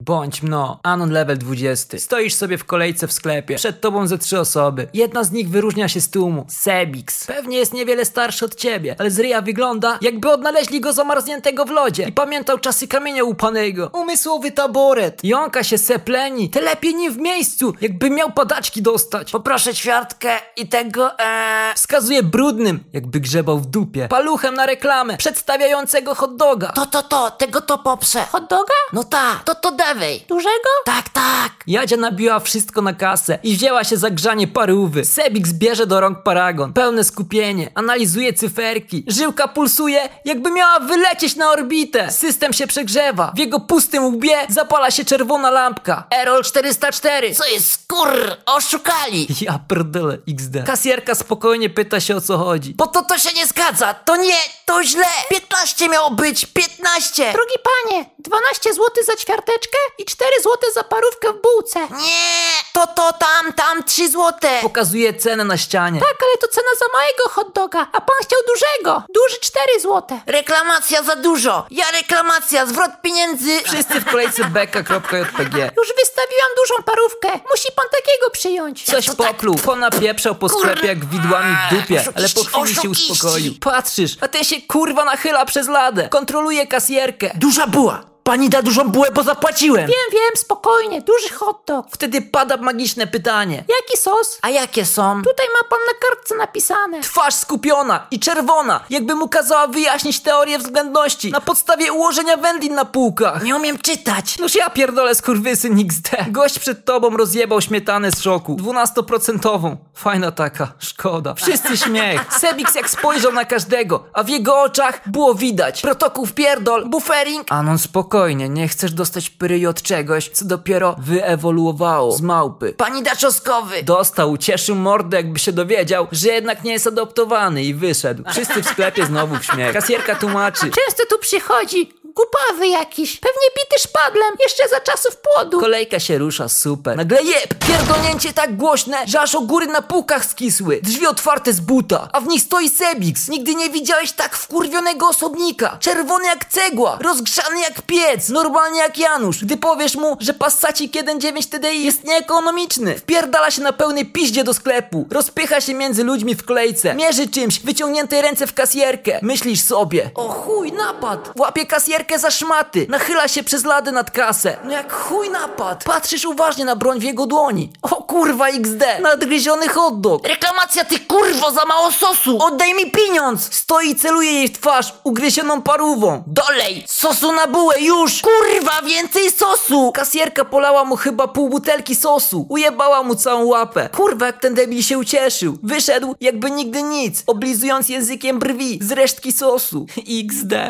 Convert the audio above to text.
Bądź mno, Anon level 20. Stoisz sobie w kolejce w sklepie, przed tobą ze trzy osoby. Jedna z nich wyróżnia się z tłumu. Sebix. Pewnie jest niewiele starszy od ciebie, ale z ryja wygląda, jakby odnaleźli go zamarzniętego w lodzie i pamiętał czasy kamienia łupanego. Umysłowy taboret. Jąka się sepleni, te lepiej nie w miejscu, jakby miał padaczki dostać. Poproszę ćwiartkę i tego, eee... Wskazuje brudnym, jakby grzebał w dupie. Paluchem na reklamę, przedstawiającego hot doga. No To, to, to, tego to poprze. Tak, Hot doga? No tak, to, to dawaj. Dużego? Tak, tak. Jadzia nabiła wszystko na kasę i wzięła się za grzanie parówy. Sebik zbierze do rąk paragon. Pełne skupienie. Analizuje cyferki. Żyłka pulsuje, jakby miała wylecieć na orbitę. System się przegrzewa. W jego pustym łbie zapala się czerwona lampka. Errol 404. Co jest, kur... Oszukali. Ja pierdolę XD. Kasjerka spokojnie pyta się o co chodzi. Bo to, to się nie zgadza. To nie, to źle. 15 miało być, 15. Drogi panie, 12 zł za ćwiarteczkę i 4 zł za parówkę w bułce. Nie, to, to, tam, tam, 3 złote. Pokazuje cenę na ścianie. Tak, ale to cena za małego hot doga, a pan chciał dużego. Duży 4 zł. Reklamacja za dużo. Ja reklamacja, zwrot pieniędzy. Wszyscy w kolejce beka.jpg. Już wystawiłam dużą parówkę. Musi pan takiego przyjąć. Coś To tak- pokluł, ponapieprzał po sklepie jak widłami w dupie, Oszukiści, ale po chwili się oszukiści. uspokoił. Patrzysz, a ten się kurwa nachyla przez ladę, kontroluje kasjerkę. Duża buła. Pani da dużą bułę, bo zapłaciłem. Wiem, wiem, spokojnie, duży hot dog. Wtedy pada magiczne pytanie. Jaki sos? A jakie są? Tutaj ma pan na kartce napisane. Twarz skupiona i czerwona, jakby mu kazała wyjaśnić teorię względności na podstawie ułożenia wędlin na półkach. Nie umiem czytać. Noż ja pierdolę skurwysyn XD. Gość przed tobą rozjebał śmietanę z szoku. 12% Fajna taka, szkoda. Wszyscy śmiech. Sebix jak spojrzał na każdego, a w jego oczach było widać. Protokół w pierdol, buffering. Anon spokojnie, nie chcesz dostać pryj od czegoś, co dopiero wyewoluowało z małpy. Pani da czoskowy. Dostał, cieszył mordę, jakby się dowiedział, że jednak nie jest adoptowany i wyszedł. Wszyscy w sklepie znowu w śmiech. Kasjerka tłumaczy. Często tu przychodzi. Głupawy jakiś. Pewnie bity szpadlem. Jeszcze za czasów płodu. Kolejka się rusza, super. Nagle jeb! Pierdolnięcie tak głośne, że aż góry na półkach skisły. Drzwi otwarte z buta, a w nich stoi Sebix. Nigdy nie widziałeś tak wkurwionego osobnika. Czerwony jak cegła, rozgrzany jak piec, normalnie jak Janusz. Gdy powiesz mu, że Passacik 1.9 TDI jest nieekonomiczny, wpierdala się na pełnej piździe do sklepu. Rozpycha się między ludźmi w kolejce. Mierzy czymś, wyciągniętej ręce w kasjerkę. Myślisz sobie, o chuj, napad! Łapie kasjerkę za szmaty, nachyla się przez lady nad kasę. No jak chuj napad! Patrzysz uważnie na broń w jego dłoni. O kurwa XD, nadgryziony hot dog. Reklamacja, ty kurwo, za mało sosu. Oddaj mi pieniądz! Stoi i celuje jej w twarz ugryzioną parówą. Dolej. Sosu na bułę, już! Kurwa, więcej sosu. Kasjerka polała mu chyba pół butelki sosu. Ujebała mu całą łapę. Kurwa, jak ten debil się ucieszył. Wyszedł jakby nigdy nic, oblizując językiem brwi z resztki sosu. XD.